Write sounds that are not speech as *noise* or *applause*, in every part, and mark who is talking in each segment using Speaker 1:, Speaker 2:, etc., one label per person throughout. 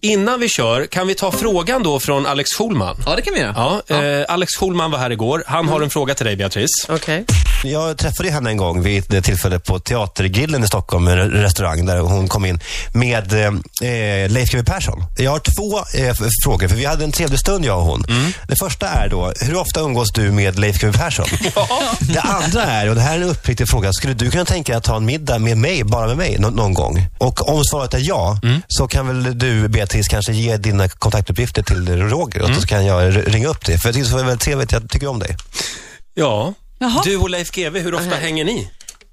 Speaker 1: innan vi kör, kan vi ta frågan då från Alex Schulman?
Speaker 2: Ja, Mm. det kan vi göra.
Speaker 1: Ja, Eh, Alex Schulman var här igår. Han har en fråga till dig, Beatrice.
Speaker 3: Okej.
Speaker 4: Jag träffade ju henne en gång vid det tillfälle på Teatergrillen i Stockholm, en re- restaurang där hon kom in med eh, eh, Leif GW Persson. Jag har två eh, f- frågor, för vi hade en trevlig stund jag och hon. Det första är då, hur ofta umgås du med Leif GW Persson? Det andra är, och det här är en uppriktig fråga, skulle du kunna tänka dig att ta en middag med mig, bara med mig, nå- någon gång? Och om svaret är ja, så kan väl du Beatrice kanske ge dina kontaktuppgifter till Roger, och så kan jag r- ringa upp dig. För jag tycker det var väldigt trevligt, jag tycker om dig.
Speaker 1: Ja.
Speaker 5: Jaha.
Speaker 1: Du och Leif GW, hur ofta hänger ni?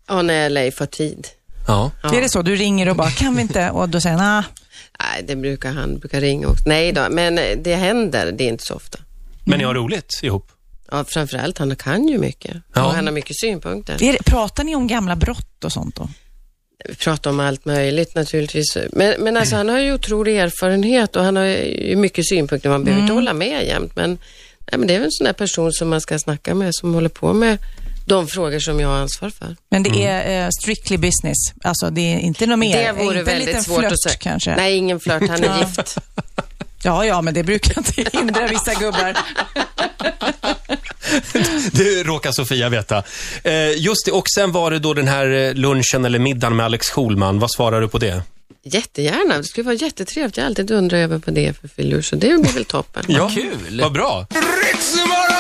Speaker 3: Ja, när Leif har tid.
Speaker 1: Ja.
Speaker 5: Är det så? Du ringer och bara, kan vi inte? Och då säger han, ah,
Speaker 3: Nej, det brukar han brukar ringa också. Nej då, men eh, det händer. Det är inte så ofta.
Speaker 1: Men ni har roligt ihop? *laughs*
Speaker 3: Ja, framförallt, han kan ju mycket.
Speaker 1: Ja.
Speaker 3: Och han har mycket synpunkter.
Speaker 5: är det, pratar ni om gamla brott och sånt då?
Speaker 3: Vi pratar om allt möjligt naturligtvis. Men, men alltså, han har ju otrolig erfarenhet och han har ju mycket synpunkter. Man behöver inte hålla med jämt, men, nej, men det är väl en sån där person som man ska snacka med, som håller på med de frågor som jag har ansvar för.
Speaker 5: Men det är eh, strictly business. Alltså det är inte något mer.
Speaker 3: Mm. Det
Speaker 5: inte
Speaker 3: vore
Speaker 5: en
Speaker 3: väldigt
Speaker 5: liten
Speaker 3: svårt
Speaker 5: flört,
Speaker 3: att säga.
Speaker 5: kanske.
Speaker 3: Nej, ingen flört. Han
Speaker 5: *laughs* Ja.
Speaker 3: är gift.
Speaker 5: Ja, ja, men det
Speaker 3: *laughs*
Speaker 5: brukar inte hindra vissa gubbar.
Speaker 1: Det råkar Sofia veta. Eh, just det, och sen var det då den här eh, lunchen eller middagen med Alex Schulman. Vad svarar du på det?
Speaker 3: Jättegärna. Det skulle vara jättetrevligt. Jag har alltid undrat över på det för filur, så det blir väl toppen.
Speaker 1: Ja,
Speaker 2: kul.
Speaker 1: Vad bra.
Speaker 6: Ritzmorgon!